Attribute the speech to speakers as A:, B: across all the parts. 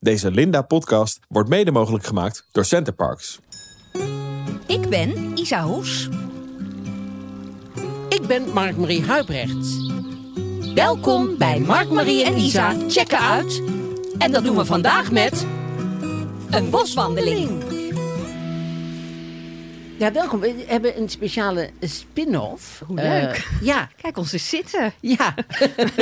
A: Deze Linda-podcast wordt mede mogelijk gemaakt door Centerparks.
B: Ik ben Isa Hoes.
C: Ik ben Mark-Marie Huibrecht.
B: Welkom bij Mark, Marie en Isa checken uit. En dat doen we vandaag met een boswandeling.
C: Ja, welkom. We hebben een speciale spin-off.
D: Hoe leuk.
C: Eh, ja,
D: Kijk ons eens zitten.
C: ja.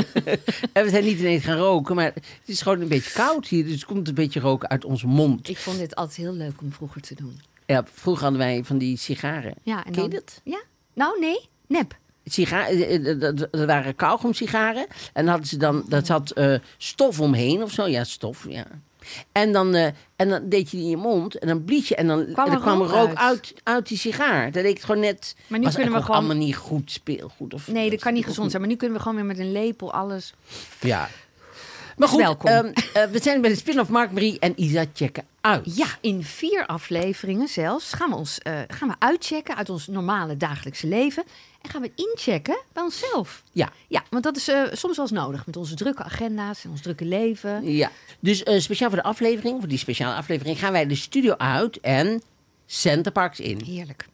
C: en we zijn niet ineens gaan roken, maar het is gewoon een beetje koud hier. Dus het komt een beetje rook uit onze mond.
D: Ik vond dit altijd heel leuk om vroeger te doen.
C: Ja, vroeger hadden wij van die sigaren.
D: Ja, en
C: Ken je
D: dan-
C: dat?
D: Ja? Nou, nee. Nep.
C: Siga- eh, eh, dat dat waren kauwgomsigaren. En dan hadden ze dan, dat had eh, stof omheen of zo. Ja, stof, ja. En dan, eh, en dan deed je die in je mond en dan blies je. En dan
D: Kwam
C: en
D: er
C: dan kwam
D: rook
C: er rook
D: uit.
C: uit. Uit, die sigaar. Dat deed ik gewoon net...
D: Maar nu
C: was
D: kunnen we
C: eigenlijk ook
D: gewoon-
C: allemaal niet goed speelgoed. Of,
D: Nee, dat kan niet
C: of-
D: gezond zijn. Maar nu kunnen we gewoon weer met een lepel alles.
C: Ja. Maar goed,
D: Welkom.
C: ehm, eh, we zijn bij de spin-off Mark Marie en Isa checken uit.
D: Ja, in vier afleveringen zelfs gaan we ons eh, gaan we uitchecken uit ons normale dagelijkse leven. En gaan we inchecken bij onszelf.
C: Ja.
D: Ja, want dat is eh, soms wel eens nodig met onze drukke agenda's en ons drukke leven.
C: Ja. Dus eh, speciaal voor de aflevering, voor die speciale aflevering, gaan wij de studio uit en Centerparks in.
D: Heerlijk.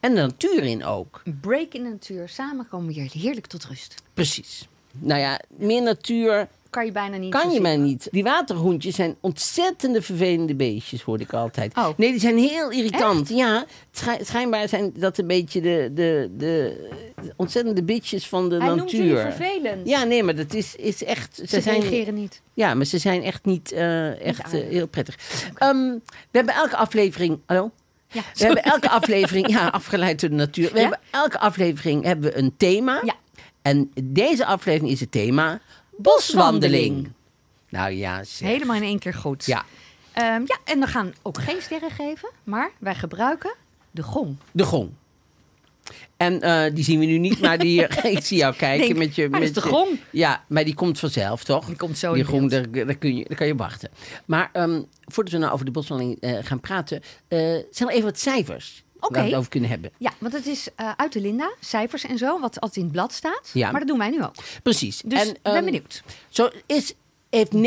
C: En de natuur in ook.
D: Een break in de natuur. Samen komen we hier heerlijk tot rust.
C: Precies. Nou ja, meer natuur
D: Kan je bijna niet.
C: kan je
D: verzinnen.
C: mij niet. Die waterhoentjes zijn ontzettende vervelende beestjes, hoorde ik altijd.
D: Oh.
C: Nee, die zijn heel irritant. Ja, schij- schijnbaar zijn dat een beetje de, de, de ontzettende bitches van de
D: Hij noemt
C: natuur.
D: jullie vervelend.
C: Ja, nee, maar dat is, is echt...
D: Ze reageren niet.
C: Ja, maar ze zijn echt niet eh, echt eh,
D: aardig.
C: heel prettig. Ehm, we hebben elke aflevering. Hallo?
D: Ja,
C: We hebben elke aflevering, ja, afgeleid door de natuur. We
D: Ja?
C: hebben elke aflevering hebben we een thema.
D: Ja.
C: En deze aflevering is het thema
D: Boswandeling.
C: boswandeling. Nou ja, zeg.
D: helemaal in één keer goed.
C: Ja,
D: Ehm, ja, en we gaan ook geen sterren geven, maar wij gebruiken de gong.
C: de gong. En eh, die zien we nu niet, maar die, ik zie jou kijken
D: Denk,
C: met je...
D: waar is
C: met
D: de
C: je-
D: gong?
C: Ja, maar die komt vanzelf, toch?
D: Die komt zo
C: Die
D: in
C: gong,
D: beeld.
C: daar, daar, kun je, daar kan je op wachten. Maar ehm, voordat we nou over de boswandeling eh, gaan praten... eh, zijn er even wat cijfers waar
D: Oké.
C: we het over kunnen hebben.
D: Ja, want het is eh, uit de Linda, cijfers en zo, wat altijd in het blad staat.
C: Ja.
D: Maar dat doen wij nu ook.
C: Precies.
D: Dus
C: en,
D: ik ben
C: ehm,
D: benieuwd.
C: Zo is, heeft 39%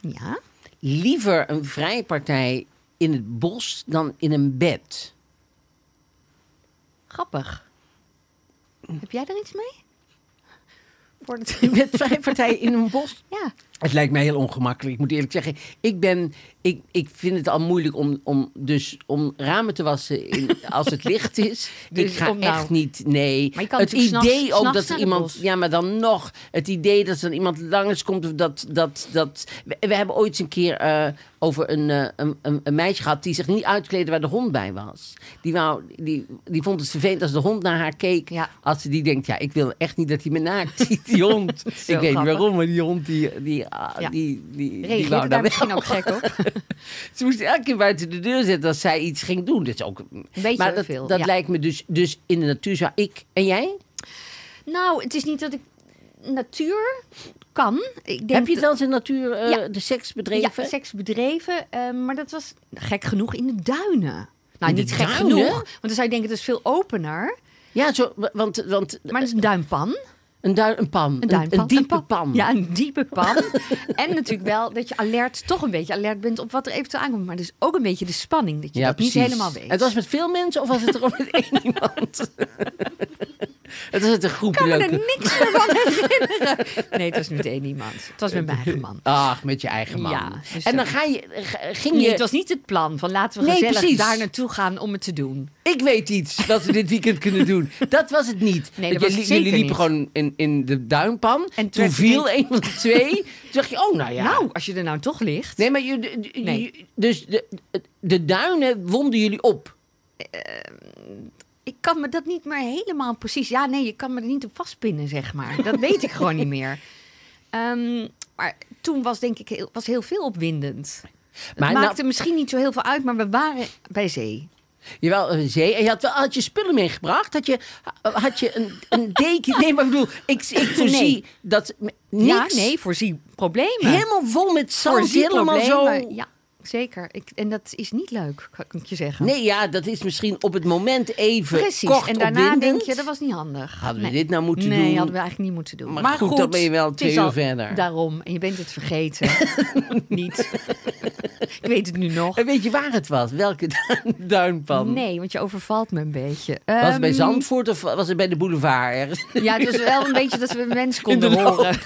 D: Ja,
C: liever een vrije partij in het bos dan in een bed.
D: grappig. Heb jij er iets mee? Voor het...
C: Met vrije partij in een bos?
D: Ja,
C: Het lijkt mij heel ongemakkelijk. Ik moet eerlijk zeggen, ik, ben, ik, ik vind het al moeilijk om, om, dus, om ramen te wassen in, als het licht is.
D: Dus
C: ik ga
D: om nou-
C: echt niet, nee.
D: Maar je kan
C: het
D: natuurlijk
C: idee
D: s'nachts-
C: ook
D: s'nachts
C: dat er
D: naar het
C: iemand,
D: bos.
C: ja, maar dan nog. Het idee dat er dan iemand langs komt of dat, dat, dat. We, we hebben ooit eens een keer eh, over een, eh, een, een, een meisje gehad die zich niet uitkleedde waar de hond bij was. Die, wou, die, die vond het vervelend als de hond naar haar keek.
D: Ja.
C: Als ze die denkt, ja, ik wil echt niet dat hij me naakt ziet, die hond. ik weet niet
D: grappig.
C: waarom. Oh, maar die hond die, die, ah,
D: Ja.
C: die, die, die
D: reageerde
C: wou
D: daar
C: daar
D: misschien
C: wel.
D: ook gek op.
C: Ze moest elke keer buiten de deur zitten als zij iets ging doen. Dat is ook...
D: Beetje
C: maar dat,
D: veel,
C: dat
D: ja.
C: lijkt me dus, dus in de natuur zou ik... En jij?
D: Nou, het is niet dat ik natuur kan. Ik denk
C: Heb je het wel eens in de natuur eh,
D: Ja.
C: de seks
D: Ja,
C: bedreven?
D: seks bedreven. eh, maar dat was gek genoeg in de duinen. Nou,
C: In de
D: niet gek
C: duinen?
D: genoeg. Want dan zou je denken, het is veel opener.
C: Ja, zo, want, want
D: Maar het is een duimpan.
C: een, duin, een pan.
D: Een duimpan.
C: diepe pan.
D: Ja, een diepe pan. en natuurlijk wel dat je alert, toch een beetje alert bent op wat er eventueel aankomt. Maar dus ook een beetje de spanning, dat je
C: Ja,
D: dat
C: precies.
D: niet helemaal weet.
C: Het was met veel mensen of was het er ook met één iemand? het was het een groep
D: Ik kan me er
C: leuke...
D: niks meer van herinneren. Nee, het was niet één iemand. Het was met mijn eigen man.
C: Ach, met je eigen man.
D: Ja, dus
C: en dan
D: zo.
C: ga je, ga- ging
D: Nee,
C: je...
D: het was niet het plan van laten we
C: Nee,
D: gezellig
C: precies.
D: daar naartoe gaan om het te doen.
C: Ik weet iets wat we dit weekend kunnen doen. Dat was het niet.
D: Nee,
C: Want
D: dat was het
C: jullie,
D: zeker
C: jullie liepen
D: niet.
C: gewoon in, in de duimpan.
D: En
C: En
D: toen
C: toen
D: werd
C: viel
D: het
C: een van de twee. Toen dacht je, oh nou ja.
D: Nou, als je er nou toch ligt.
C: Nee, maar jullie,
D: Nee.
C: dus de, de duinen wonden jullie op.
D: Ik kan me dat niet meer helemaal precies. Ja, nee, je kan me er niet op vastpinnen, zeg maar. Dat weet ik gewoon niet meer. Ehm, maar toen was denk ik heel, was heel veel opwindend.
C: Maar
D: het maakte
C: nou-
D: misschien niet zo heel veel uit, maar we waren bij zee.
C: Jawel, een zee. En je had, wel, had je spullen meegebracht? Had je, had je een, een deken? Nee, maar ik bedoel, ik, ik voorzie
D: Nee.
C: dat niks.
D: Ja, nee, voorzie problemen.
C: Helemaal vol met zand.
D: Voorzie
C: helemaal zo.
D: problemen, Ja, zeker. Ik, en dat is niet leuk, kan ik je zeggen.
C: Nee, ja, dat is misschien op het moment even
D: Precies.
C: kort
D: en daarna
C: opwindend.
D: denk je, dat was niet handig.
C: Hadden we
D: Nee.
C: dit nou moeten
D: nee,
C: doen?
D: hadden we eigenlijk niet moeten doen.
C: Maar goed, dan ben je wel
D: het
C: twee
D: is
C: uur
D: al
C: verder.
D: Daarom, en je bent het vergeten. niet. ik weet het nu nog.
C: En weet je waar het was? Welke du- duinpan?
D: Nee, want je overvalt me een beetje.
C: Was het bij
D: Ehm,
C: Zandvoort of was het bij de boulevard? ergens?
D: Ja, het was wel een beetje dat we mensen
C: In de
D: konden horen.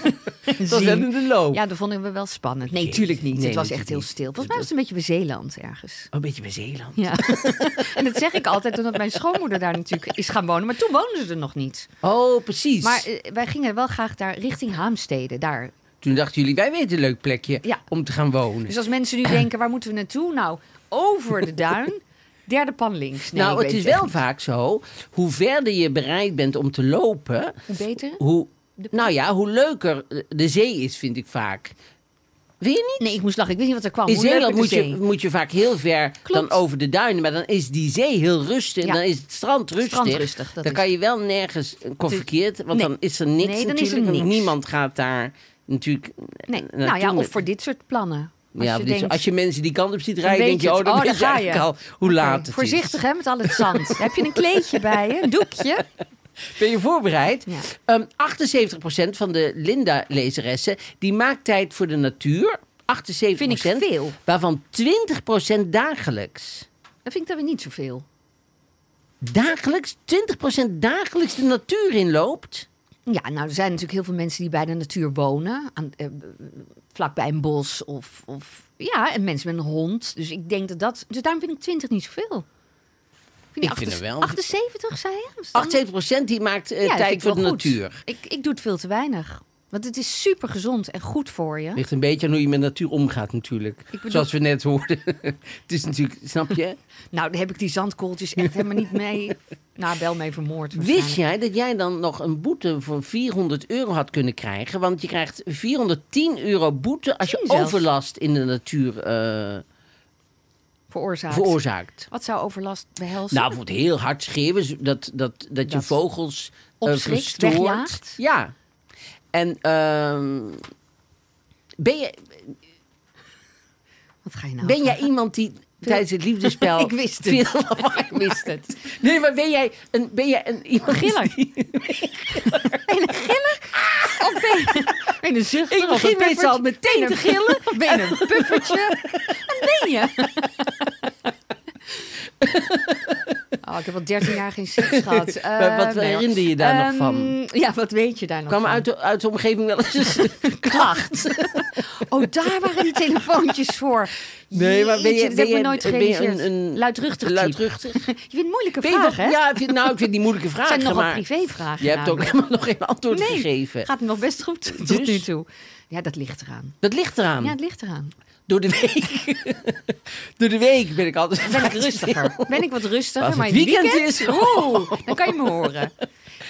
C: Het was wel in de loop.
D: Ja, dat vonden we wel spannend. Nee,
C: Jezus,
D: tuurlijk niet.
C: nee,
D: het was echt
C: natuurlijk
D: heel
C: niet.
D: stil. Volgens mij was het een beetje bij Zeeland ergens.
C: Oh, een beetje bij Zeeland.
D: Ja. en dat zeg ik altijd omdat mijn schoonmoeder daar natuurlijk is gaan wonen. Maar toen woonden ze er nog niet.
C: Oh, precies.
D: Maar eh, wij gingen wel graag daar richting Haamstede. Daar.
C: Toen dachten jullie, wij weten een leuk plekje
D: Ja.
C: om te gaan wonen.
D: Dus als mensen nu denken, waar moeten we naartoe? Nou, over de duin. Derde pan links. Nee,
C: nou,
D: ik
C: het
D: weet
C: is wel
D: echt
C: vaak zo, hoe verder je bereid bent om te lopen,
D: niet. beter.
C: hoe, nou ja, hoe leuker de zee is, vind ik vaak. Weet je niet?
D: Nee, ik moest lachen. Ik wist niet wat er kwam.
C: In
D: Hoe leuk
C: Zeeland
D: het
C: moet
D: is
C: je,
D: zee.
C: moet je vaak heel ver
D: Klopt.
C: dan over de duinen. Maar dan is die zee heel rustig.
D: Ja.
C: Dan is het strand rustig.
D: Strand rustig, dat
C: dan
D: is-
C: kan je wel nergens eh, confiskeerd. Want
D: Nee.
C: dan is er niks
D: Nee, dan is er
C: natuurlijk.
D: niks.
C: Niemand gaat daar natuurlijk eh,
D: Nee.
C: naartoe
D: Nou ja,
C: met-
D: of voor dit soort plannen. Als
C: ja,
D: je
C: dit is-
D: denkt-
C: als je mensen die kant op ziet
D: Dan
C: rijden, denk
D: weet je
C: je, oh,
D: het.
C: dan
D: Oh,
C: weet
D: daar
C: je
D: ga
C: eigenlijk
D: je.
C: al hoe laat het
D: Voorzichtig hè, met al het zand. Heb je een kleedje bij je? Een doekje?
C: is. Ben je voorbereid?
D: Ja.
C: Ehm 78% van de Linda-lezeressen, die maakt tijd voor de natuur. 78%.
D: Vind ik veel.
C: Waarvan 20% dagelijks.
D: Dat vind ik dan weer niet zoveel.
C: dagelijks, 20% dagelijks de natuur inloopt.
D: Ja, nou, er zijn natuurlijk heel veel mensen die bij de natuur wonen. Aan, eh, vlakbij een bos of, of... Ja, en mensen met een hond. Dus ik denk dat dat... Dus daarom vind ik 20 niet zoveel. Vind je
C: Ik vind
D: achtes-
C: het wel.
D: 78, zei je? Was het dan-
C: 78% die maakt eh,
D: Ja, dat vind
C: tijd
D: ik
C: voor de
D: wel goed.
C: natuur.
D: Ik, ik doe het veel te weinig. Want het is super gezond en goed voor je.
C: Ligt een beetje aan hoe je met natuur omgaat natuurlijk.
D: bedoel-
C: Zoals we net hoorden. het is natuurlijk, snap je?
D: Nou, daar heb ik die zandkooltjes echt helemaal niet mee... Nou, wel mee vermoord
C: Wist jij dat jij dan nog een boete van 400 euro had kunnen krijgen? Want je krijgt 410 euro boete als je
D: Tien zelfs.
C: overlast in de natuur eh,
D: Veroorzaakt.
C: veroorzaakt.
D: Wat zou overlast behelzen?
C: Nou, bijvoorbeeld heel hard schreeuwen, dat, dat, dat je
D: Dat
C: vogels eh,
D: opschrikt,
C: verstoort.
D: wegjaagt.
C: Ja. En ehm, ben, je,
D: Wat ga je nou?
C: ben jij iemand die tijdens het liefdespel...
D: Ik wist het.
C: veel lawaai
D: Ik wist het.
C: maakt? Nee, maar ben jij een, ben jij een iemand...
D: Giller.
C: die-
D: Of ben je, ben je een zuchter of
C: Ik
D: een
C: begin
D: puffertje?
C: meestal meteen
D: Ben je
C: te
D: een- Ben je een puffertje? Wat ben je? Oh, ik heb al 13 jaar geen seks gehad. Eh,
C: Maar wat
D: nee.
C: herinner je daar nog
D: Ehm,
C: van?
D: Ja, wat weet je daar nog
C: kwam
D: van?
C: uit de, uit de omgeving wel eens een klacht.
D: Oh, daar waren die telefoontjes voor.
C: Nee, maar ben
D: Jeetje,
C: je,
D: dat
C: ben
D: heb ik
C: je,
D: me nooit
C: ben je
D: gerealiseerd. luidruchtig type.
C: luidruchtig?
D: Je vindt moeilijke
C: Ben je wel-
D: vragen, hè?
C: Ja, ik vind, nou, ik vind die moeilijke vraag.
D: Het zijn nogal
C: maar
D: privévragen. nou,
C: Je hebt ook
D: namelijk.
C: helemaal nog geen antwoord
D: Nee,
C: gegeven.
D: gaat nog best goed tot
C: Eh, Dus?
D: nu toe. Ja, dat ligt eraan.
C: Dat ligt eraan.
D: Ja, het ligt eraan.
C: Door de week. Door de week ben ik altijd
D: ben ik
C: vrij
D: rustiger.
C: stil.
D: Ben ik wat rustiger.
C: Als
D: maar
C: het weekend is,
D: Oeh, dan kan je me horen.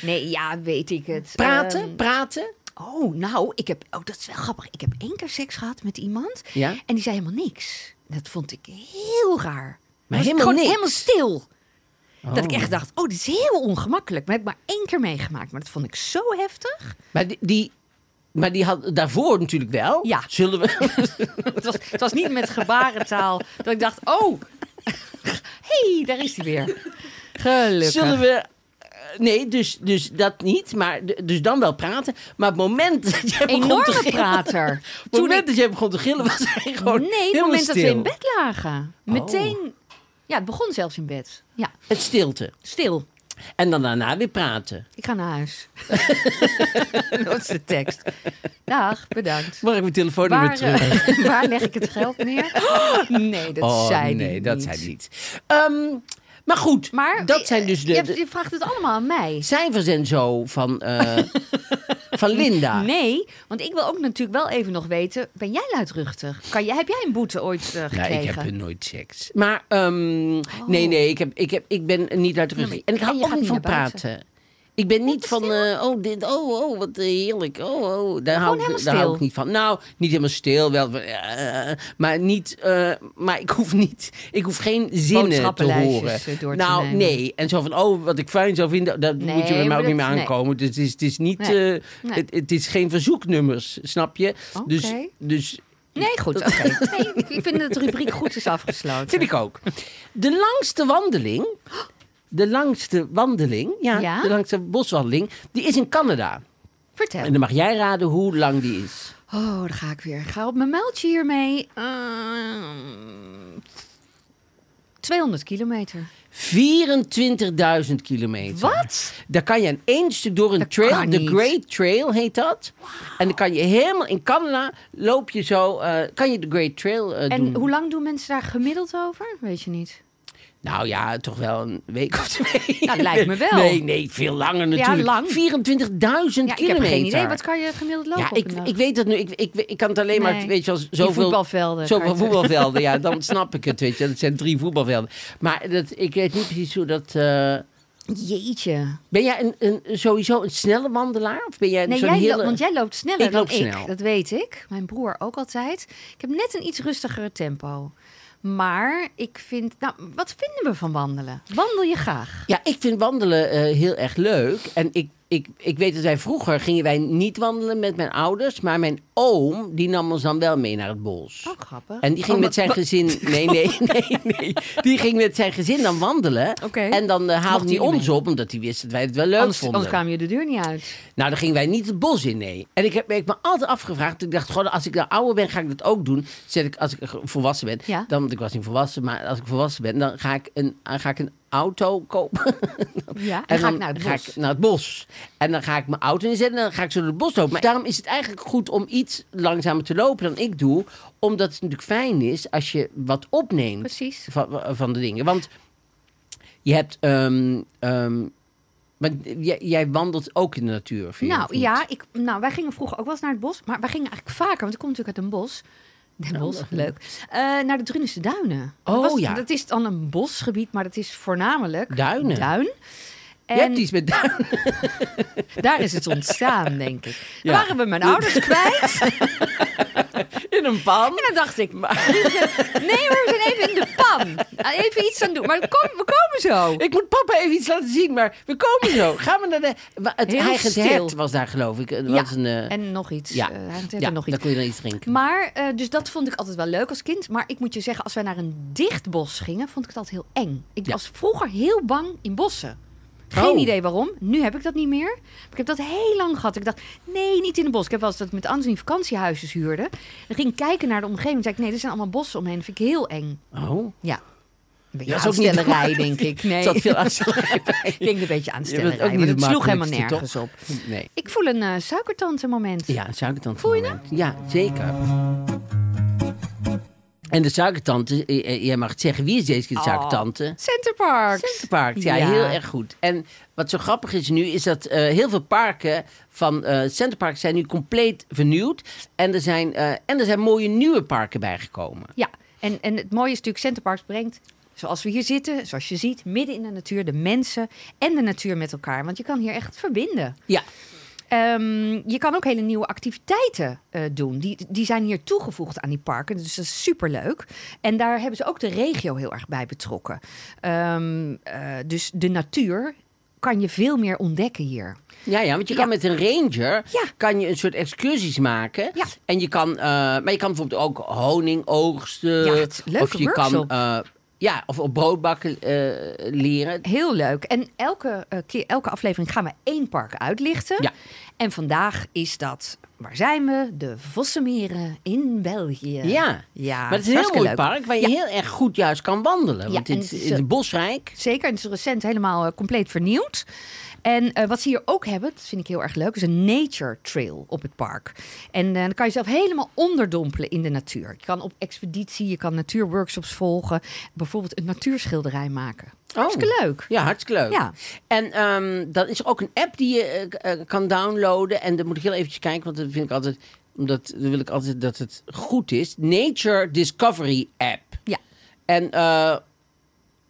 D: Nee, ja, weet ik het.
C: Praten,
D: Ehm,
C: praten.
D: oh, nou, ik heb. Oh, dat is wel grappig. Ik heb één keer seks gehad met iemand.
C: Ja.
D: En die zei helemaal niks. Dat vond ik heel raar. Was
C: Maar helemaal
D: gewoon
C: niks?
D: helemaal stil. Dat ik echt dacht, oh, dit is heel ongemakkelijk. Maar heb ik maar één keer meegemaakt. Maar dat vond ik zo heftig.
C: Maar die, die, maar die had daarvoor natuurlijk wel.
D: Ja.
C: Zullen we...
D: Het was, het was niet met gebarentaal. Dat ik dacht, oh, hey, daar is hij weer. Gelukkig.
C: Zullen we... eh, Nee, dus, dus dat niet. Maar, d- dus dan wel praten. Maar het moment dat jij begon te
D: Enorme
C: gillen...
D: prater.
C: Het
D: Toen
C: moment
D: ik
C: dat jij begon te gillen was hij gewoon
D: Nee, het
C: helemaal
D: moment
C: stil. Oh.
D: dat we in bed lagen. Meteen. Ja, het begon zelfs in bed. Ja,
C: Het stilte.
D: stil.
C: En dan daarna weer praten.
D: Ik ga naar huis. dat is de tekst. Dag, bedankt.
C: Mag ik mijn telefoon weer
D: Waar,
C: terug?
D: eh, waar leg ik het geld neer? Nee, dat
C: oh,
D: zei
C: nee,
D: die
C: dat
D: niet.
C: zei die niet. Ehm, maar goed,
D: Maar
C: dat zijn dus de...
D: je,
C: de-
D: je vraagt het allemaal aan mij.
C: cijfers en zo van, eh, van Linda.
D: Nee, want ik wil ook natuurlijk wel even nog weten. Ben jij luidruchtig? Kan jij, heb jij een boete ooit eh,
C: Nou,
D: gekregen?
C: ik heb er nooit seks. Maar ehm, nee, nee, ik, heb, ik, heb, ik ben niet
D: Oh. Ja,
C: uitrustig.
D: maar-
C: en ik
D: en
C: hou
D: je
C: ook
D: gaat
C: niet van
D: niet naar buiten.
C: praten. Ik ben niet van, eh, oh, dit, oh, oh, wat eh, heerlijk, oh, oh. Daar hou, ik,
D: helemaal
C: daar hou
D: stil.
C: ik niet van. Nou, niet helemaal stil, wel, van, eh, eh, maar niet, eh, maar ik hoef niet, ik hoef geen zinnen te
D: Boodschappenlijstjes,
C: horen.
D: eh, door te
C: nou,
D: nemen.
C: nee. En zo van, oh, wat ik fijn zou vinden, dat
D: Nee,
C: moet je bij mij
D: maar
C: ook niet meer
D: dat- nee.
C: aankomen. Dus het is, het is niet,
D: Nee.
C: eh,
D: Nee.
C: Het, het is geen verzoeknummers, snap je? Dus,
D: Oké.
C: dus
D: Nee, goed. Oké. Nee, ik- ik vind dat de rubriek goed is afgesloten.
C: Vind ik ook. De langste wandeling, de langste wandeling, ja,
D: Ja?
C: de langste boswandeling, die is in Canada.
D: Vertel.
C: En dan mag jij raden hoe lang die is.
D: Oh, daar ga ik weer. Ik ga op mijn muiltje hiermee. Ehm, 200 kilometer.
C: 24.000 kilometer.
D: Wat?
C: Daar kan je aan één stuk door een
D: Dat
C: trail.
D: kan
C: De
D: niet.
C: Great Trail heet dat. En dan kan je helemaal in Canada loop je zo. eh, kan je de Great Trail eh, doen?
D: En hoe lang doen mensen daar gemiddeld over? Weet je niet.
C: Nou ja, toch wel een week of twee.
D: Nou, lijkt me wel.
C: Nee, nee, veel langer natuurlijk.
D: lang.
C: 24.000 kilometer.
D: Ja, ik heb geen idee. Wat kan je gemiddeld lopen?
C: Ja,
D: op
C: ik,
D: een dag?
C: ik weet dat nu. Ik, ik, ik kan het alleen maar,
D: Nee.
C: weet je wel,
D: Die
C: zoveel...
D: voetbalvelden,
C: Zoveel
D: Gert.
C: voetbalvelden, ja. Dan snap ik het, weet je. Dat zijn drie voetbalvelden. Maar dat, ik weet niet precies hoe dat... eh,
D: Jeetje.
C: ben jij een, een, sowieso een snelle wandelaar? Of ben jij
D: Nee,
C: zo'n
D: jij
C: hele...
D: loopt- want jij loopt sneller
C: Ik
D: dan
C: loop
D: ik.
C: snel.
D: Dat weet ik. Mijn broer ook altijd. Ik heb net een iets rustigere tempo. Maar ik vind... Nou, wat vinden we van wandelen? Wandel je graag?
C: Ja, ik vind wandelen eh, heel erg leuk. En ik, ik, ik weet dat wij vroeger gingen wij niet wandelen met mijn ouders. Maar mijn oom, die nam ons dan wel mee naar het bos.
D: Oh, grappig.
C: En die ging met zijn gezin. Nee, nee, nee, nee. Die ging met zijn gezin dan wandelen.
D: Oké.
C: En dan eh, haalde
D: Mocht
C: hij
D: niet
C: ons
D: mee.
C: op, omdat hij wist dat wij het wel leuk
D: anders,
C: vonden.
D: anders kwamen je de deur niet uit.
C: Nou, dan gingen wij niet het bos in, nee. En ik heb ik heb me altijd afgevraagd. Ik dacht gewoon, als ik nou ouder ben, ga ik dat ook doen. Zet ik, als ik volwassen ben.
D: Ja.
C: Dan, want ik was niet volwassen, maar als ik volwassen ben, dan ga ik een, dan ga ik een auto kopen.
D: Ja, en, ga ik
C: dan
D: naar het
C: ga
D: bos.
C: ik naar het bos. En dan ga ik mijn auto inzetten en dan ga ik zo door het bos lopen. Maar daarom is het eigenlijk goed om iets langzamer te lopen dan ik doe. Omdat het natuurlijk fijn is als je wat opneemt
D: Precies.
C: van, van de dingen. Want je hebt... ehm, ehm, maar jij, jij wandelt ook in de natuur, vind je, of
D: Nou
C: niet?
D: ja, ik, nou, wij gingen vroeger ook wel eens naar het bos. Maar wij gingen eigenlijk vaker, want ik kom natuurlijk uit een bos. Den Bos, leuk. Eh, naar de Drunense Duinen. Dat
C: Nou, Oh,
D: was-
C: ja.
D: Dat is dan een bosgebied, maar dat is voornamelijk
C: Duinen.
D: duin.
C: Je hebt
D: En
C: iets met duinen.
D: daar is het ontstaan, denk ik.
C: Ja.
D: Daar waren we mijn ouders kwijt.
C: in een pan.
D: En dan dacht ik, nee hoor, we zijn even in de pan. Even iets aan doen. Maar kom, we komen zo.
C: Ik moet papa even iets laten zien, maar we komen zo. Gaan we naar de... wa- Het
D: Heel
C: eigen
D: stil.
C: hert was daar, geloof ik. Het was een, eh,
D: en nog iets.
C: ja,
D: Eh, hij heeft
C: ja
D: er nog
C: dan
D: iets.
C: kon je dan iets drinken.
D: Maar, eh, dus dat vond ik altijd wel leuk als kind. Maar ik moet je zeggen, als wij naar een dicht bos gingen, vond ik dat heel eng. Ik
C: Ja.
D: was vroeger heel bang in bossen. Geen
C: Oh.
D: idee waarom. Nu heb ik dat niet meer. Maar ik heb dat heel lang gehad. Ik dacht, nee, niet in een bos. Ik heb wel eens dat ik met Anthony vakantiehuizen huurde. En ging ik kijken naar de omgeving. Toen zei ik, nee, er zijn allemaal bossen omheen. Dat vind ik heel eng.
C: Oh.
D: Ja. Een beetje
C: Dat is ook niet
D: aanstellerij, denk ik. Nee,
C: Er zat veel
D: ik denk een beetje
C: bent ook
D: aanstellerij.
C: niet
D: Maar
C: de
D: dat sloeg helemaal
C: makkelijkste,
D: nergens
C: toch?
D: op.
C: Nee.
D: Ik voel een eh suikertante moment.
C: Ja, een suikertante.
D: Voel je
C: moment. eh, Ja, zeker. En de suikertante, eh, eh, jij mag het zeggen, wie is deze keer de suikertante?
D: Center Parks.
C: Centerparks, ja,
D: Oh, Ja.
C: heel erg goed. En wat zo grappig is nu, is dat eh, heel veel parken van eh Centerparks zijn nu compleet vernieuwd. En er zijn, eh, en er zijn mooie nieuwe parken bijgekomen.
D: Ja, en, en het mooie is natuurlijk, Centerparks brengt, zoals we hier zitten, zoals je ziet, midden in de natuur de mensen en de natuur met elkaar. Want je kan hier echt verbinden.
C: Ja,
D: Ehm, je kan ook hele nieuwe activiteiten eh, doen. Die, die zijn hier toegevoegd aan die parken. Dus dat is superleuk. En daar hebben ze ook de regio heel erg bij betrokken. Ehm, eh, dus de natuur kan je veel meer ontdekken hier.
C: ja, ja want je kan
D: Ja.
C: met een ranger
D: Ja.
C: kan je een soort excursies maken.
D: Ja.
C: En je kan, eh, maar je kan bijvoorbeeld ook honing oogsten.
D: Ja, het is een leuke
C: of je
D: workshop.
C: kan, eh, ja, of op broodbakken eh, leren.
D: Heel leuk. En elke, eh, keer, elke aflevering gaan we één park uitlichten.
C: Ja.
D: En vandaag is dat, waar zijn we? De Vossenmeren in België.
C: Ja.
D: ja
C: maar het is een heel mooi
D: hartstikke leuk.
C: park waar je
D: Ja.
C: heel erg goed juist kan wandelen.
D: Ja,
C: want
D: en
C: het
D: het is,
C: is in
D: eh,
C: het bosrijk.
D: Zeker, en het is recent helemaal eh, compleet vernieuwd. En eh, wat ze hier ook hebben, dat vind ik heel erg leuk, is een nature trail op het park. En eh, dan kan je zelf helemaal onderdompelen in de natuur. Je kan op expeditie, je kan natuurworkshops volgen. Bijvoorbeeld een natuurschilderij maken. Hartstikke leuk.
C: Ja, hartstikke Oh. leuk.
D: Ja.
C: En ehm, dan is er ook een app die je eh, k- eh, kan downloaden. En dan moet ik heel eventjes kijken, want dat vind ik altijd... Omdat dan wil ik altijd dat het goed is. Nature Discovery App.
D: Ja.
C: En... eh,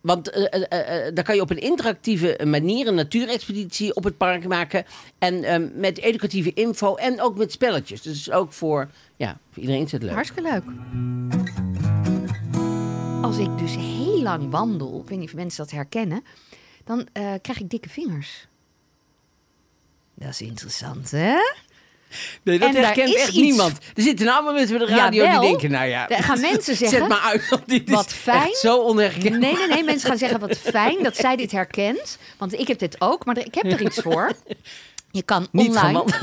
C: want eh, eh, eh, eh, dan kan je op een interactieve manier een natuurexpeditie op het park maken. En ehm, met educatieve info en ook met spelletjes. Dus ook voor, ja, voor iedereen is het leuk.
D: Hartstikke leuk. Als ik dus heel lang wandel, ik weet niet of mensen dat herkennen, dan eh, krijg ik dikke vingers. Dat is interessant, hè?
C: Nee, dat
D: En daar
C: herkent
D: is
C: echt
D: iets-
C: niemand. Er zitten nou allemaal mensen bij de radio
D: Jawel.
C: die denken, nou ja,
D: Er gaan mensen zeggen,
C: zet maar uit, want dit is
D: wat fijn.
C: echt zo
D: Nee,
C: onherkenbaar.
D: nee, nee. Mensen gaan zeggen wat fijn dat zij dit herkent. Want ik heb dit ook, maar er- ik heb er iets voor. Je kan
C: Niet gaan
D: online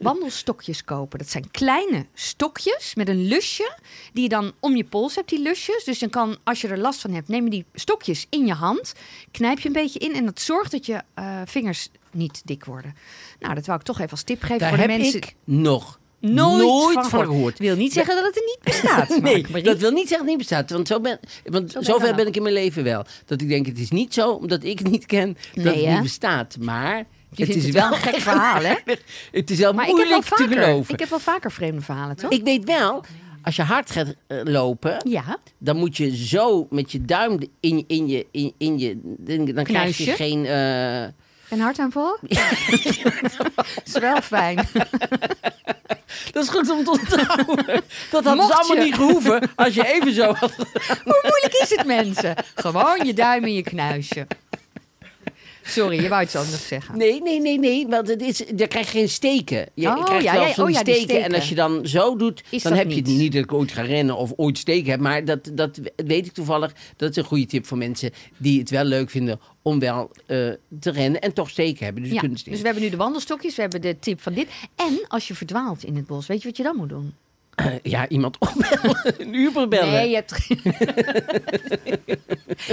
D: wandelstokjes kopen. Dat zijn kleine stokjes met een lusje. Die je dan om je pols hebt, die lusjes. Dus dan kan, als je er last van hebt, neem je die stokjes in je hand. Knijp je een beetje in. En dat zorgt dat je eh, vingers niet dik worden. Nou, dat wou ik toch even als tip geven
C: Daar
D: voor de
C: heb
D: mensen.
C: ik nog
D: Nooit, van
C: van
D: gehoord.
C: gehoord.
D: Wil niet zeggen dat het er niet bestaat.
C: Nee,
D: Mark-Marie.
C: dat wil niet zeggen dat het niet bestaat. Want zo ben, want
D: ben
C: zover
D: ik dan
C: ben ik in mijn leven wel. Dat ik denk, het is niet zo, omdat ik het niet ken, dat
D: Nee,
C: het
D: hè?
C: niet bestaat. Maar
D: Je
C: het
D: vindt
C: is
D: het wel
C: wel
D: een gek verhaal, hè?
C: Het is wel
D: Maar ik heb, wel
C: moeilijk te
D: vaker,
C: geloven.
D: ik
C: Ik,
D: heb wel vaker vreemde verhalen, toch?
C: weet wel, als je hard gaat eh, lopen,
D: Ja.
C: dan moet je zo met je duim in, in je... In, in je dan krijg je
D: Knuisje?
C: geen... eh,
D: Een hartaanval? Ja. dat is wel fijn.
C: dat is goed om te onthouden. Dat had
D: Mocht
C: ze allemaal
D: je-
C: niet gehoeven als je even zo had
D: Hoe moeilijk is het, mensen? Gewoon je duim in je knuisje. Sorry, je wou iets anders zeggen.
C: Nee, nee, nee, nee, want het is, daar krijg je geen steken. Je
D: Oh,
C: krijgt
D: ja,
C: wel
D: ja,
C: zo'n
D: oh ja, die
C: steken, En
D: steken.
C: als je dan zo doet,
D: Is
C: dan
D: dat
C: heb je
D: niet?
C: het niet dat ik ooit ga rennen of ooit steken heb. Maar dat, dat weet ik toevallig. Dat is een goede tip voor mensen die het wel leuk vinden om wel eh, te rennen en toch steken hebben. Dus je
D: Ja,
C: kunt
D: dus
C: steken.
D: we hebben nu de wandelstokjes, we hebben de tip van dit. En als je verdwaalt in het bos, weet je wat je dan moet doen?
C: Eh, ja, iemand opbellen. een Uber bellen.
D: Nee, je hebt, geen-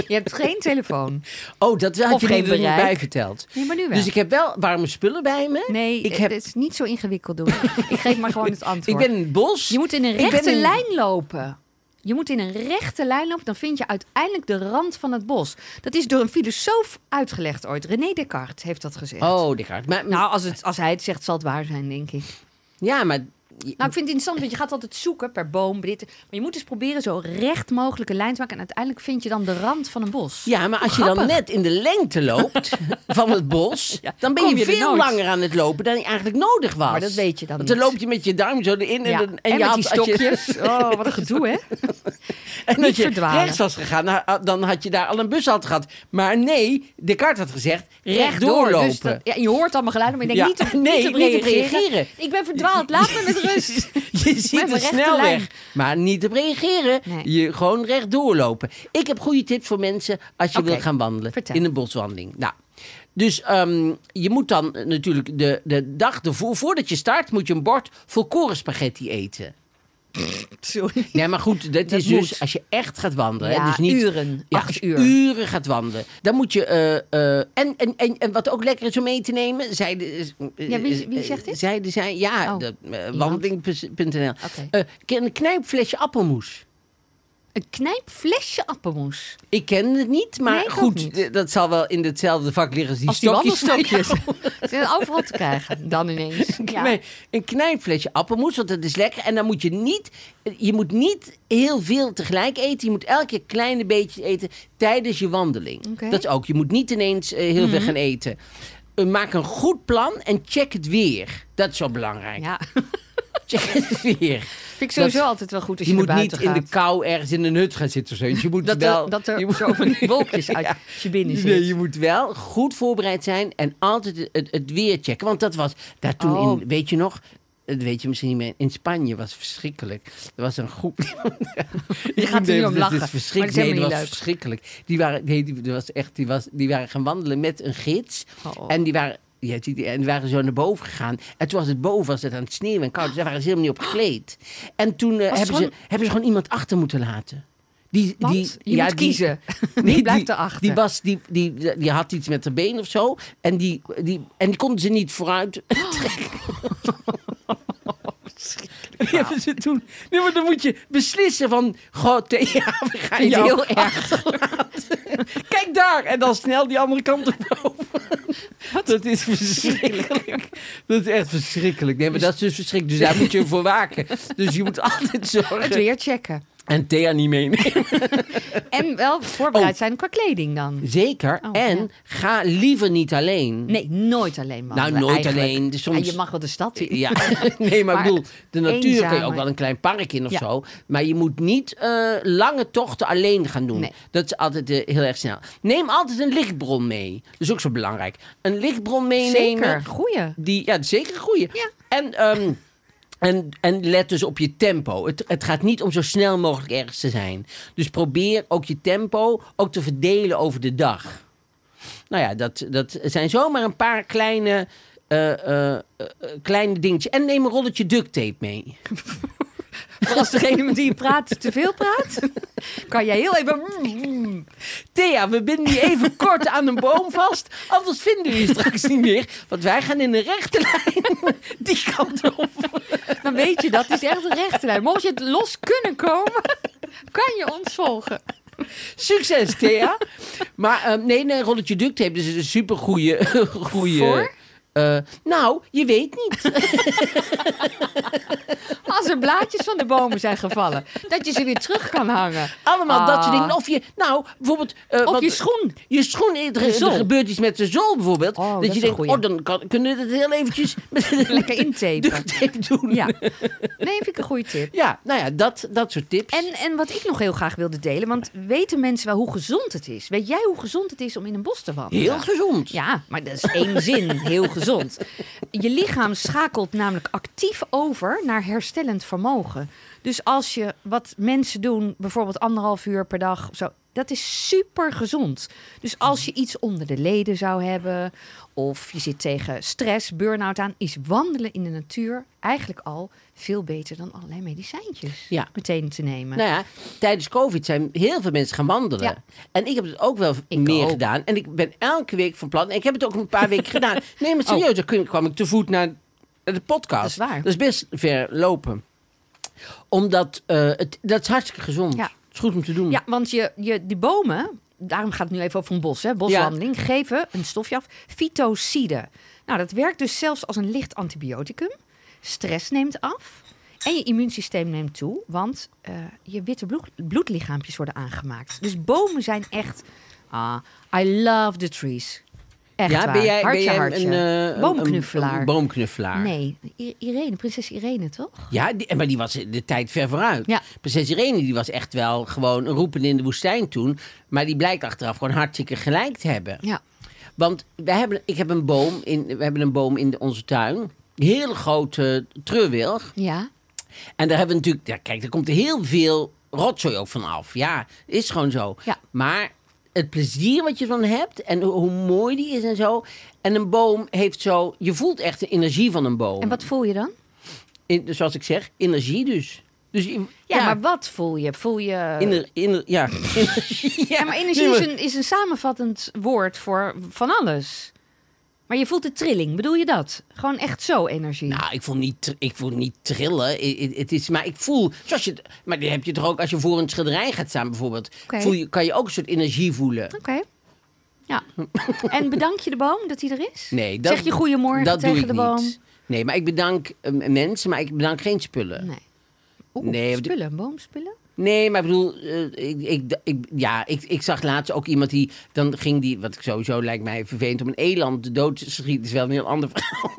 D: je hebt geen telefoon.
C: oh, dat had
D: Of
C: je er
D: geen
C: nog niet
D: bereik.
C: bij verteld.
D: Nee, maar nu wel.
C: Dus ik heb wel warme spullen bij me.
D: nee,
C: ik heb-
D: het is niet zo ingewikkeld doen. ik geef maar gewoon het antwoord.
C: Ik ben in het bos.
D: Je moet in een
C: Ik ben
D: rechte
C: in-
D: lijn lopen. Je moet in een rechte lijn lopen, dan vind je uiteindelijk de rand van het bos. Dat is door een filosoof uitgelegd ooit. René Descartes heeft dat gezegd.
C: Oh, die gaat. Maar,
D: Nou, als, het, als hij het zegt, zal het waar zijn, denk ik.
C: ja, maar...
D: Nou, ik vind het interessant, want je gaat altijd zoeken per boom, dit. Maar je moet dus proberen zo recht mogelijk een lijn te maken. En uiteindelijk vind je dan de rand van een bos.
C: Ja, maar als je dan net in de lengte loopt van het bos, dan ben
D: kom
C: je,
D: je er
C: veel
D: nooit.
C: langer aan het lopen dan je eigenlijk nodig was.
D: Maar dat weet je dan
C: Want dan
D: niet.
C: loop je met je duim zo erin en,
D: Ja,
C: dan-
D: En,
C: je
D: met
C: had-
D: die
C: als je-
D: stokjes. Oh, wat een gedoe, hè?
C: en
D: Niet
C: als je
D: verdwalen.
C: rechts was gegaan, nou, dan had je daar al een bus had gehad. Maar nee, Descartes had gezegd, recht
D: doorlopen.
C: doorlopen.
D: Dus dat- ja, je hoort allemaal geluiden, maar je denkt
C: Ja,
D: niet, op,
C: nee,
D: niet, op
C: niet op
D: reageren.
C: reageren.
D: Ik ben verdwaald, laat me met rust.
C: Je ziet
D: rechte
C: de snelweg,
D: lijn.
C: maar niet op reageren.
D: Nee.
C: Je gewoon recht doorlopen. Ik heb goede tips voor mensen als je
D: Oké,
C: wil gaan wandelen
D: vertel.
C: in een boswandeling. Nou, dus ehm, je moet dan eh, natuurlijk de, de dag ervoor, voordat je start, moet je een bord volkoren spaghetti eten.
D: Sorry.
C: Nee, maar goed, dat,
D: Dat
C: is dus
D: moet.
C: als je echt gaat wandelen.
D: Ja,
C: hè, dus niet,
D: uren,
C: Ja,
D: acht
C: als je
D: uur.
C: uren gaat wandelen. Dan moet je... eh, eh, en, en, en, en wat ook lekker is om mee te nemen... Zeiden, eh,
D: Ja, wie- wie
C: eh,
D: zegt dit?
C: Zeiden zij... Ja,
D: Oh,
C: dat, eh,
D: iemand.
C: wandeling.nl.
D: Oké.
C: Eh, ken- een knijpflesje appelmoes.
D: Een knijpflesje appelmoes.
C: Ik ken het niet, maar
D: Nee, ik ook
C: goed,
D: niet.
C: eh, dat zal wel in hetzelfde vak liggen als die
D: Als die
C: stokjes.
D: wandelstokjes. Ze zijn overal te krijgen. Dan ineens. Ja.
C: Nee, een klein flesje appelmoes, want dat is lekker. En dan moet je niet, eh, je moet niet heel veel tegelijk eten. Je moet elke keer kleine beetjes eten tijdens je wandeling.
D: Oké. Mhm.
C: Dat is ook. Je moet niet ineens eh, heel veel gaan eten. Eh, maak een goed plan en check het weer. Dat is zo belangrijk.
D: Ja.
C: Check het weer.
D: Vind ik sowieso
C: Dat-
D: altijd wel goed als
C: Je,
D: je,
C: moet
D: naar
C: niet
D: buiten
C: in
D: gaat.
C: de kou ergens in een hut gaan zitten of zo. Je moet
D: dat,
C: wel,
D: er, dat
C: je
D: er
C: moet-
D: zo van die wolkjes uit
C: Ja.
D: als je binnen zit.
C: Nee, je moet wel goed voorbereid zijn en altijd het, het, het weer checken. Want dat was daar toen
D: Oh.
C: in, weet je nog? Dat weet je misschien niet meer. In Spanje was het verschrikkelijk. Er was een groep.
D: Je gaat er nu om lachen, maar dat is
C: verschrikkelijk.
D: helemaal
C: Nee, dat
D: niet
C: was
D: leuk.
C: verschrikkelijk. Die waren, nee, die, dat was echt, die, was, die waren gaan wandelen met een gids.
D: Oh.
C: En die waren. Ja, die, die- en die waren zo naar boven gegaan. En toen was het boven, was het aan het sneeuwen en koud. Dus daar waren ze helemaal niet op gekleed. En toen eh,
D: het
C: hebben, ze,
D: gewoon-
C: hebben ze gewoon iemand achter moeten laten. Die,
D: Want
C: die,
D: je
C: ja,
D: moet
C: die-
D: kiezen.
C: Nee,
D: die blijft
C: die,
D: erachter.
C: Die, was, die, die, die had iets met haar been of zo. En die, die, en die konden ze niet vooruit trekken. Die hebben ze toen. Nee, maar dan moet je beslissen van. God, ja, we gaan
D: Vind ik
C: jou
D: heel erg.
C: achterlaten. Kijk daar! En dan snel die andere kant op over. Dat is verschrikkelijk. Dat is echt verschrikkelijk. Nee, maar dat is dus verschrikkelijk. Dus daar moet je voor waken. Dus je moet altijd zorgen.
D: Het weer checken.
C: En Thea niet meenemen.
D: En wel
C: Oh.
D: voorbereid zijn qua kleding dan.
C: Zeker.
D: Oh,
C: en
D: ja.
C: ga liever niet alleen.
D: Nee, nooit alleen man.
C: Nou, nooit alleen. Dus soms-
D: En je mag wel de stad in.
C: Ja, nee, maar,
D: Maar
C: ik bedoel, de natuur kun je
D: eenzame.
C: ook wel een klein park in of
D: Ja.
C: zo. Maar je moet niet eh, lange tochten alleen gaan doen.
D: Nee.
C: Dat is altijd eh, heel erg snel. Neem altijd een lichtbron mee. Dat is ook zo belangrijk. Een lichtbron meenemen.
D: Zeker, goeie.
C: Die, ja, zeker goeie.
D: Ja.
C: En, ehm, en, en let dus op je tempo. Het, het gaat niet om zo snel mogelijk ergens te zijn. Dus probeer ook je tempo ook te verdelen over de dag. Nou ja, dat, dat zijn zomaar een paar kleine, eh, eh, eh, kleine dingetjes. En neem een rolletje duct tape mee.
D: Voor als degene met wie je praat te veel praat, kan jij heel even... mm,
C: Thea, we binden je even kort aan een boom vast. Anders vinden we je straks niet meer. Want wij gaan in een rechte lijn die kant op.
D: Dan weet je dat. Het is echt een rechte lijn. Mocht je het los kunnen komen, kan je ons volgen.
C: Succes, Thea. maar ehm, nee, nee, rolletje duct tape dus is een super goede. goede
D: Voor?
C: nou, je weet niet.
D: Als er blaadjes van de bomen zijn gevallen, dat je ze weer terug kan hangen.
C: Allemaal
D: Ah.
C: dat soort dingen. Of je, nou, bijvoorbeeld. eh,
D: Of
C: want-
D: je schoen.
C: Je schoen, er, er
D: zool.
C: gebeurt iets met de zool bijvoorbeeld.
D: Oh, dat
C: dat, je
D: is een
C: denkt,
D: goeie.
C: oh, dan kan, kunnen we dat heel eventjes met
D: Lekker intapen.
C: duct tape doen.
D: Ja. Nee, vind ik een goede tip.
C: Ja, nou ja, dat, dat soort tips.
D: En, en wat ik nog heel graag wilde delen, want weten mensen wel hoe gezond het is? Weet jij hoe gezond het is om in een bos te wandelen?
C: Heel gezond.
D: Ja, maar dat is één zin, heel gezond. Je lichaam schakelt namelijk actief over naar herstellend vermogen. Dus als je wat mensen doen, bijvoorbeeld anderhalf uur per dag, of zo, dat is super gezond. Dus als je iets onder de leden zou hebben, of je zit tegen stress, burn-out aan, is wandelen in de natuur eigenlijk al veel beter dan allerlei medicijntjes
C: Ja.
D: meteen te nemen.
C: Nou ja, tijdens COVID zijn heel veel mensen gaan wandelen.
D: Ja.
C: En ik heb het ook wel
D: Ik
C: meer
D: ook.
C: gedaan. En ik ben elke week van plan. En ik heb het ook een paar weken gedaan. Nee, maar serieus, dan kun- kwam ik te voet naar de podcast.
D: Oh. Dat is waar.
C: Dat is best ver lopen. Omdat eh, het, dat is hartstikke gezond.
D: Ja.
C: Het is goed om te doen.
D: Ja, want je, je, die bomen, daarom gaat het nu even over een bos, hè, boswandeling, geven een stofje af, fytocide. Nou, dat werkt dus zelfs als een licht antibioticum. Stress neemt af en je immuunsysteem neemt toe, want eh, je witte bloed, bloedlichaampjes worden aangemaakt. Dus bomen zijn echt, ah, I love the trees. Echt
C: Ja,
D: waar.
C: ben jij,
D: hartje,
C: ben jij
D: hartje.
C: een, eh, een- een-
D: boomknuffelaar?
C: een boomknuffelaar.
D: nee, I- Irene, prinses Irene, toch?
C: Ja, die- maar die was de tijd ver vooruit.
D: Ja.
C: Prinses Irene die was echt wel gewoon een roepende in de woestijn toen. Maar die blijkt achteraf gewoon hartstikke gelijk te hebben.
D: Ja.
C: Want wij hebben, ik heb een boom in, we hebben een boom in de- onze tuin. Een hele grote treurwilg.
D: Ja.
C: En daar hebben we natuurlijk... Ja, kijk, daar komt heel veel rotzooi ook van af. Ja, is gewoon zo.
D: Ja.
C: Maar het plezier wat je van hebt en hoe, hoe mooi die is en zo. En een boom heeft zo... Je voelt echt de energie van een boom.
D: En wat voel je dan?
C: In- dus zoals ik zeg, energie dus. Dus je-
D: Ja, maar wat voel je? Voel je...
C: Inner, inner, ja.
D: Ja, maar energie
C: nee, maar-
D: is, een, is een samenvattend woord voor van alles. Maar je voelt de trilling, bedoel je dat? Gewoon echt zo energie.
C: Nou, ik voel niet, tr- ik voel niet trillen. I- i- Het is, maar ik voel, zoals je, het- maar die heb je toch ook als je voor een schilderij gaat staan bijvoorbeeld.
D: Oké.
C: Voel je, kan je ook een soort energie voelen.
D: Oké. Ja. en bedank je de boom dat hij er is?
C: Nee, dat,
D: zeg je goeiemorgen
C: dat
D: tegen
C: doe ik
D: de boom?
C: Niet. Nee, maar ik bedank eh, mensen, maar ik bedank geen spullen.
D: Nee. Oeh,
C: Nee, want-
D: spullen, boomspullen?
C: Nee, maar ik bedoel, eh, ik, ik, ik- ja, ik, ik zag laatst ook iemand die, dan ging die, wat ik sowieso lijkt mij vervelend om een eland dood te schieten, is wel een heel ander verhaal.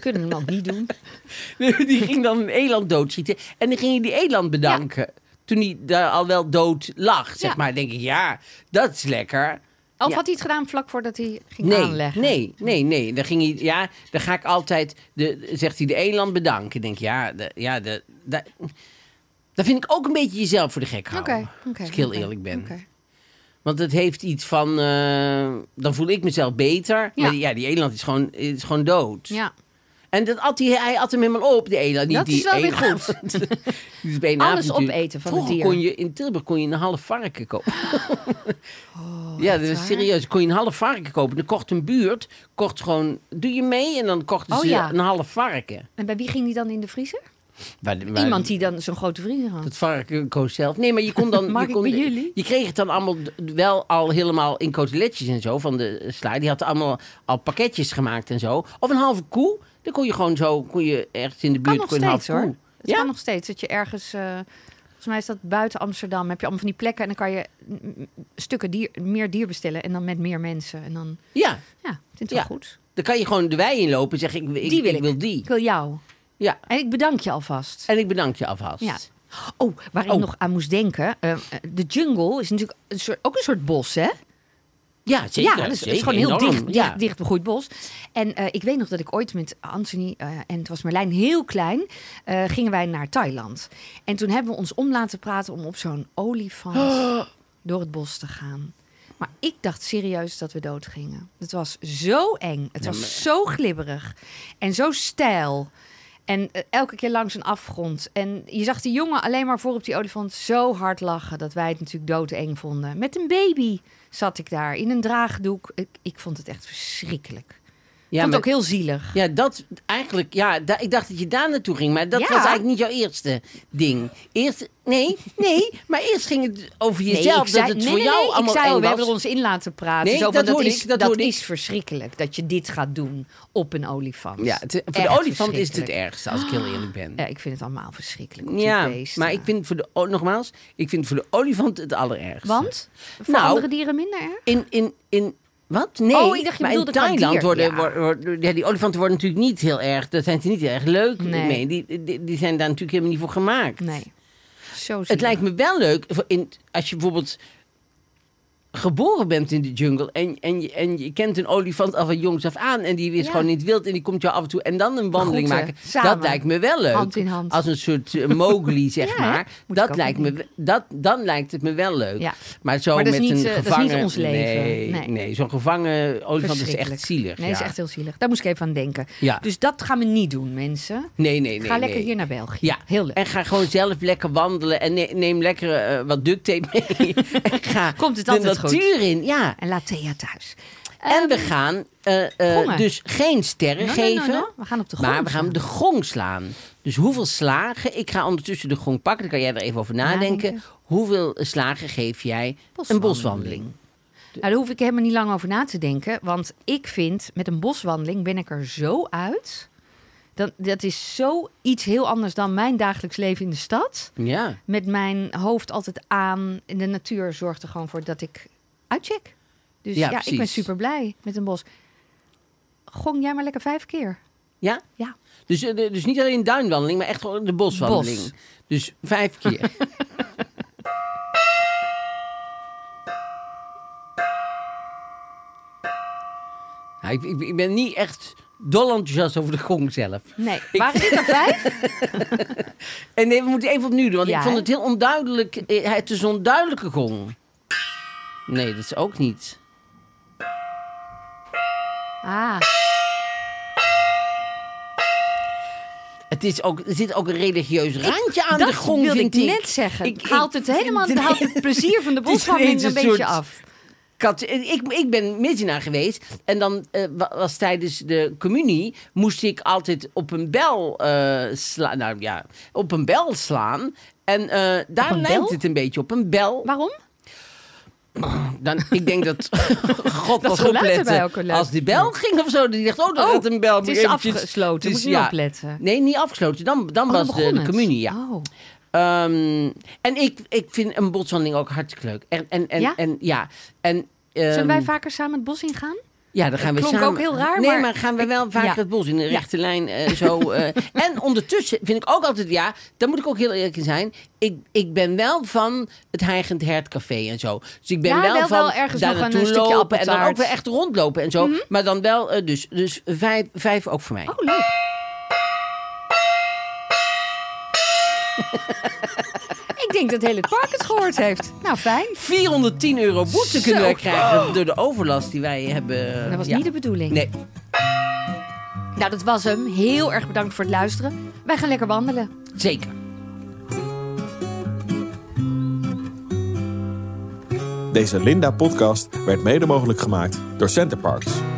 D: Kunnen we ook niet doen.
C: Nee, die ging dan een eland doodschieten. En dan ging je die eland bedanken. Toen hij daar al wel dood lag, zeg
D: Ja.
C: maar. denk ik, ja, dat is lekker.
D: Of
C: Ja.
D: had hij het gedaan vlak voordat hij ging
C: Nee,
D: aanleggen?
C: nee, nee, nee. Dan ging hij, ja, dan ga ik altijd, de, zegt hij, de eland bedanken. Ik denk, ja, de, ja, de, de- dat vind ik ook een beetje jezelf voor de gek
D: Oké,
C: houden.
D: oké.
C: Nou, als ik heel
D: oké,
C: eerlijk ben.
D: oké.
C: Want het heeft iets van, eh, dan voel ik mezelf beter.
D: Ja.
C: Maar die- ja, die eland is gewoon, is gewoon dood.
D: Ja.
C: En dat at hij, hij at hem helemaal op, de eland. Niet
D: Dat
C: die
D: is wel weer
C: eland. Die is bij een
D: Alles
C: avond natuurlijk-
D: opeten van het
C: Vroeger
D: dier.
C: kon je in Tilburg kon je een half varken kopen. Oh, ja, dat is
D: waar?
C: serieus. Kon je een half varken kopen. Dan kocht een buurt, kocht gewoon, doe je mee? En dan kochten
D: Oh,
C: ze
D: ja.
C: een half varken.
D: En bij wie ging die dan in de vriezer?
C: Waar- waar-
D: Iemand die dan zo'n grote vriezer had.
C: Dat varken koos zelf. Nee, maar je kon dan.
D: Mag
C: je
D: ik
C: kon,
D: bij jullie?
C: Je kreeg het dan allemaal d- wel al helemaal in koteletjes en zo van de eh, sla. Die had allemaal al pakketjes gemaakt en zo. Of een halve koe. Dan kon je gewoon zo, kon je ergens in de buurt
D: nog
C: kon je een halve
D: steeds, hoor.
C: koe.
D: Het
C: Ja?
D: kan nog steeds dat je ergens... eh, volgens mij is dat buiten Amsterdam. Heb je allemaal van die plekken en dan kan je mm, mm, stukken dier, meer dier bestellen. En dan met meer mensen. En dan,
C: Ja,
D: ja, ik vind het
C: Ja.
D: wel goed.
C: dan kan je gewoon de wei inlopen en zeggen: ik, ik,
D: Die wil
C: ik
D: ik.
C: wil die.
D: Ik wil jou.
C: Ja,
D: En ik bedank je alvast.
C: en ik bedank je alvast.
D: Ja. Oh, waar ik
C: Oh.
D: nog aan moest denken. eh, de jungle is natuurlijk een soort, ook een soort bos, hè?
C: Ja,
D: ja,
C: zeker.
D: dus het is
C: zeker,
D: gewoon heel
C: enorm.
D: dicht,
C: Ja.
D: dicht, dicht begroeid bos. En eh, ik weet nog dat ik ooit met Anthony eh, en het was Merlijn heel klein, eh, gingen wij naar Thailand. En toen hebben we ons om laten praten om op zo'n olifant door het bos te gaan. Maar ik dacht serieus dat we doodgingen. Het was zo eng. Het was zo glibberig. En zo steil. En eh, elke keer langs een afgrond. En je zag die jongen alleen maar voor op die olifant zo hard lachen... dat wij het natuurlijk doodeng vonden. Met een baby zat ik daar in een draagdoek. Ik, ik vond het echt verschrikkelijk. ik vond
C: Ja,
D: het
C: maar-
D: ook heel zielig.
C: Ja, dat eigenlijk. Ja, da- ik dacht dat je daar naartoe ging, maar dat
D: Ja.
C: was eigenlijk niet jouw eerste ding. Eerst, nee, nee, maar eerst ging het over jezelf.
D: ik zei,
C: dat het
D: nee,
C: voor
D: nee,
C: jou
D: nee,
C: allemaal
D: ik zei, al,
C: eng
D: we
C: was.
D: hebben er ons in laten praten.
C: Nee,
D: Zo van,
C: dat
D: dat
C: hoorde
D: is,
C: ik, dat hoorde ik.
D: is verschrikkelijk, dat je dit gaat doen op een olifant.
C: Ja, het- voor de
D: Echt
C: olifant is het het
D: verschrikkelijk.
C: ergste, als ik heel eerlijk ben.
D: Ja, ik vind het allemaal verschrikkelijk. op die
C: Ja,
D: beesten.
C: maar ik vind voor de, o- nogmaals, ik vind voor de olifant het allerergste.
D: Want? Voor
C: Nou,
D: andere dieren minder erg?
C: In, in, in, wat? Nee,
D: Oh, ik dacht, je
C: maar in
D: bedoelde qua
C: Thailand
D: dier,
C: worden,
D: ja.
C: wor- wor- ja, die olifanten worden natuurlijk niet heel erg, daar zijn ze niet heel erg leuk
D: Nee.
C: mee. Die, die, die zijn daar natuurlijk helemaal niet voor gemaakt.
D: Nee. Zo
C: Het
D: zielig.
C: lijkt me wel leuk voor in, als je bijvoorbeeld geboren bent in de jungle en, en, je, en je kent een olifant al van jongs af aan en die is
D: Ja.
C: gewoon in het wild en die komt jou af en toe en dan een wandeling
D: Groeten,
C: maken.
D: samen.
C: Dat lijkt me wel leuk.
D: Hand in hand.
C: Als een soort eh, Mowgli, zeg
D: Ja, hè?
C: maar.
D: Moet ik
C: Dat
D: ook
C: lijkt
D: aan
C: me, we- dat, dan lijkt het me wel leuk.
D: Ja.
C: Maar zo
D: Maar dat
C: met
D: is niet,
C: een
D: eh, dat is niet
C: gevangen...
D: ons leven.
C: Nee,
D: Nee.
C: nee. zo'n gevangen olifant is echt
D: Verschrikkelijk.
C: zielig.
D: Nee,
C: ja.
D: is echt heel zielig. Daar moest ik even aan denken.
C: Ja.
D: Dus dat gaan we niet doen, mensen.
C: Nee, nee, nee.
D: Ga lekker
C: nee.
D: hier naar België.
C: Ja,
D: Heel leuk.
C: En ga gewoon zelf lekker wandelen en ne- neem lekker eh, wat duct tape mee. en ga
D: Komt het
C: de
D: altijd goed.
C: natuur in, ja.
D: En laat Thea thuis.
C: En we gaan eh, eh,
D: gongen.
C: dus geen sterren
D: No, no, no,
C: geven,
D: no. We gaan op de grond.
C: maar we gaan de gong slaan. Dus hoeveel slagen, ik ga ondertussen de gong pakken, dan kan jij er even over nadenken.
D: Nadenken.
C: Hoeveel slagen geef jij een
D: Boswandeling.
C: boswandeling?
D: Nou, daar hoef ik helemaal niet lang over na te denken. Want ik vind, met een boswandeling ben ik er zo uit. Dan, dat is zo iets heel anders dan mijn dagelijks leven in de stad.
C: Ja,
D: Met mijn hoofd altijd aan. En de natuur zorgt er gewoon voor dat ik uitcheck. Dus
C: Ja,
D: ja,
C: precies.
D: ik ben super blij met een bos. Gong jij maar lekker vijf keer.
C: ja?
D: Ja.
C: Dus, eh, de- dus niet alleen duinwandeling, maar echt gewoon de boswandeling.
D: Bos.
C: Dus vijf keer. Ja, ik, ik, ik ben niet echt dol enthousiast over de gong zelf.
D: Nee, waren dit er vijf?
C: En nee, we moeten even opnieuw doen, want
D: Ja,
C: ik vond
D: hè?
C: het heel onduidelijk. eh, Het is een onduidelijke gong. Nee, dat is ook niet.
D: Ah,
C: Het is ook, er zit ook een religieus randje aan
D: dat
C: de gong,
D: wilde
C: vind
D: ik
C: ik.
D: net zeggen.
C: Ik- ik
D: haalt het helemaal,
C: vind-
D: haalt het plezier van de
C: Het is
D: boswandeling
C: ineens
D: een
C: een
D: beetje
C: soort-
D: af.
C: Kat, eh, ik, ik ben misdienaar geweest. En dan eh, wa- was tijdens de communie... moest ik altijd op een bel eh slaan. Nou ja, op een bel slaan. En eh, daar
D: een
C: lijkt
D: bel?
C: het een beetje op. Een bel.
D: Waarom?
C: Dan, ik denk dat God was
D: geluid erbij ook
C: opletten.
D: een leuk
C: Als die bel ging of zo, die dacht... Oh, daar
D: Oh,
C: gaat een bel.
D: het
C: Moet
D: is
C: ik eventjes-
D: afgesloten.
C: Het is-
D: Moet je opletten.
C: Nee, niet afgesloten. Dan, dan
D: Oh, dan
C: was de,
D: begon
C: de
D: het.
C: communie, ja.
D: Oh.
C: Ehm, en ik, ik vind een botswandeling ook hartstikke leuk. En, en, en,
D: Ja?
C: En, ja. en
D: Zullen
C: ehm,
D: wij vaker samen het bos ingaan?
C: Ja, dan gaan we
D: klonk
C: samen...
D: ook heel raar,
C: Nee,
D: maar-
C: maar, gaan we wel vaker
D: ja.
C: het bos in de rechte lijn eh, zo. eh. en ondertussen vind ik ook altijd... Ja, daar moet ik ook heel eerlijk in zijn. Ik, ik ben wel van het Heigend Hertcafé en zo. Dus ik ben
D: Ja,
C: wel,
D: wel-
C: van
D: wel ergens
C: daar
D: nog een
C: naartoe
D: stukje
C: lopen. En dan ook
D: appeltaart. Mhm.
C: weer echt rondlopen en zo. Maar dan wel... eh, dus dus vijf, vijf ook voor mij.
D: Oh, leuk. ik denk dat het hele park het gehoord heeft. Nou, fijn.
C: 410 euro boete
D: Zo.
C: kunnen wij krijgen door de overlast die wij hebben.
D: Dat was
C: Ja.
D: niet de bedoeling.
C: Nee.
D: Nou, dat was hem. Heel erg bedankt voor het luisteren. Wij gaan lekker wandelen.
C: Zeker.
A: Deze Linda-podcast werd mede mogelijk gemaakt door Centerparks.